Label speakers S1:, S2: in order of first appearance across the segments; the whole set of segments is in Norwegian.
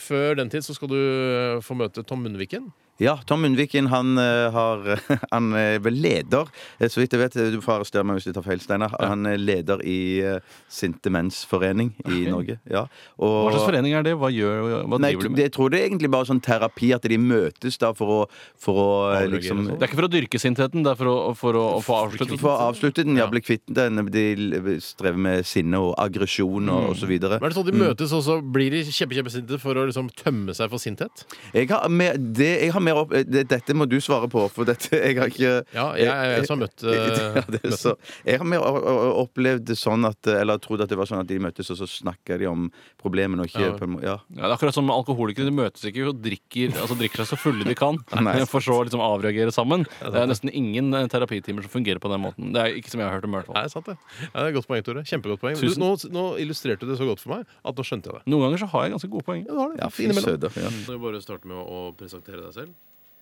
S1: Før den tid så skal du eh, få møte Tom Munnviken.
S2: Ja, Tom Mundviken han, eh, har, han er vel leder, eh, så vidt jeg vet. eh, Du får arrestere meg hvis jeg tar feil, Steinar. Han er leder i eh, Sinte Menns Forening i Norge. Ja. Og-
S3: Hva slags forening er det? Hva, gjør, hva
S2: Nei,
S3: driver du
S2: jeg,
S3: med?
S2: jeg tror det er egentlig bare sånn terapi, at de møtes da for å, for å eh,
S1: Avreagere
S2: liksom
S1: og
S3: Det er ikke for å dyrke sintheten, det er for å, for å, å få avsluttet
S2: få avsluttet den, ja,
S1: Ja.
S2: bli kvitt den. De strever med sinne og aggresjon
S3: Mm.
S2: og, og så videre.
S1: Men er det sånn at De møtes og så blir de kjempe, kjempesinte for å liksom tømme seg for sinthet.
S2: Jeg har mer, det, jeg har mer opp, eh, det, dette må du svare på, for dette Jeg har ikke
S1: Ja, jeg er jeg som har møtt eh,
S2: Ja, det er
S1: møtt
S2: så, jeg har mer o- o- opplevd det sånn at Eller trodd at det var sånn at de møttes, og så snakker de om problemene og ikke
S1: Ja.
S2: på en må- ja.
S3: Ja, det er akkurat som alkoholikere. De møtes ikke og drikker, altså drikker seg så fulle de kan.
S2: Nei.
S3: For så å liksom avreagere sammen. Det er nesten ingen eh, terapitimer som fungerer på den måten. Det er ikke som jeg har hørt om. i hvert fall.
S1: Nei, sant det. Ja, det er et Godt poeng, Tore. Kjempegodt poeng. Du,
S3: Tusen-
S1: nå, nå illustrerte du det så godt for meg at nå skjønte jeg det.
S3: Noen ganger så har jeg ganske gode poeng.
S1: Ja, du har det.
S2: Ja, fy
S1: Innimellom.
S2: søder. Ja.
S1: Du kan jo bare starte med å å presentere deg selv.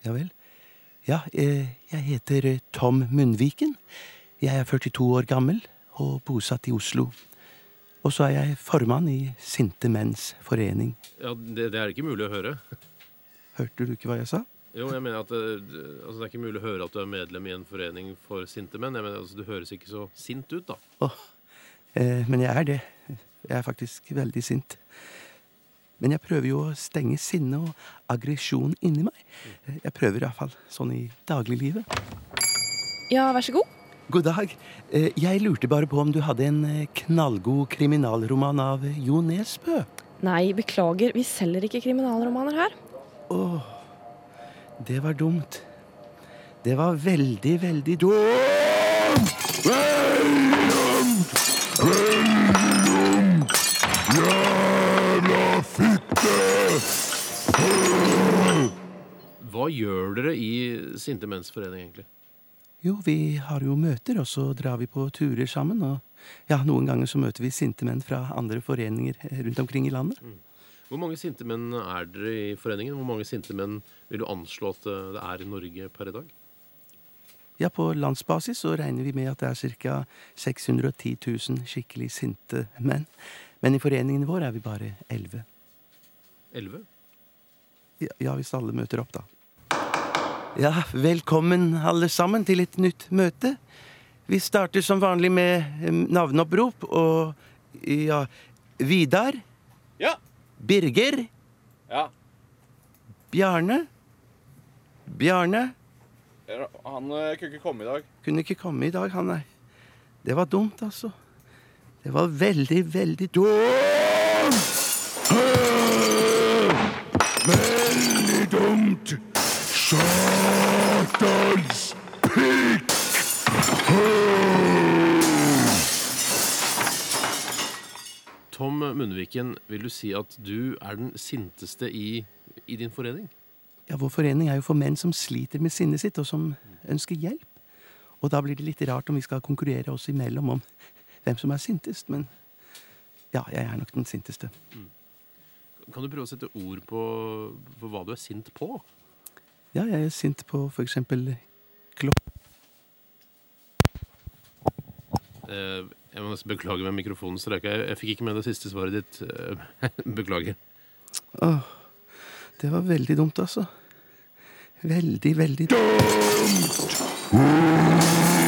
S4: Ja vel. Ja, eh, jeg heter eh, Tom Munnviken. Jeg er 42 år gammel og bosatt i Oslo. Og så er jeg formann i Sinte menns forening.
S1: Ja, det, det er ikke mulig å høre.
S4: Hørte du ikke hva jeg sa?
S1: Jo, jeg mener at eh, altså, Det er ikke mulig å høre at du er medlem i en forening for sinte menn. Jeg mener, altså, Du høres ikke så sint ut, da.
S4: Åh, eh, men jeg er det. Jeg er faktisk veldig sint. Men jeg prøver jo å stenge sinne og aggresjon inni meg. Eh, Jeg prøver iallfall sånn i dagliglivet.
S5: Ja, vær så god.
S4: God dag. Eh, Jeg lurte bare på om du hadde en eh, knallgod kriminalroman av eh, Jo Nesbø?
S5: Nei, beklager, vi selger ikke kriminalromaner her.
S4: Åh, det var dumt. Det var veldig, veldig dumt.
S1: Hva gjør dere i Sinte menns forening, egentlig?
S4: Jo, vi har jo møter, og så drar vi på turer sammen. Og ja, noen ganger så møter vi sinte menn fra andre foreninger eh, rundt omkring i landet.
S1: Hvor mange sinte menn er dere i foreningen? Hvor mange sinte menn vil du anslå at eh, det er i Norge per i dag?
S4: Ja, på landsbasis så regner vi med at det er ca. 610 000 skikkelig sinte menn. Men i foreningen vår er vi bare 11.
S1: Elleve?
S4: Ja, ja, hvis alle møter opp, da. Ja, velkommen alle sammen til et nytt møte. Vi starter som vanlig med em, navneopprop og ja Vidar.
S3: Ja.
S4: Birger.
S3: Ja.
S4: Bjarne. Bjarne
S3: Han eh, kunne ikke komme i dag.
S4: kunne ikke komme i dag, han nei. Det var dumt, altså. Det var veldig, veldig dumt.
S1: Tom Munnviken, vil du si at du er den sinteste i, i din forening?
S4: Ja, Vår forening er jo for menn som sliter med sinnet sitt, og som ønsker hjelp. Og da blir det litt rart om vi skal konkurrere oss imellom om hvem som er sintest, men ja, jeg er nok den sinteste.
S1: Kan du prøve å sette ord på, på hva du er sint på?
S4: Ja, jeg er sint på for eksempel klopp...
S1: Eh, jeg må nesten beklage med mikrofonen strøk. Jeg, jeg fikk ikke med det siste svaret ditt. Eh, Beklager.
S4: Åh, det var veldig dumt, altså. Veldig, veldig dumt!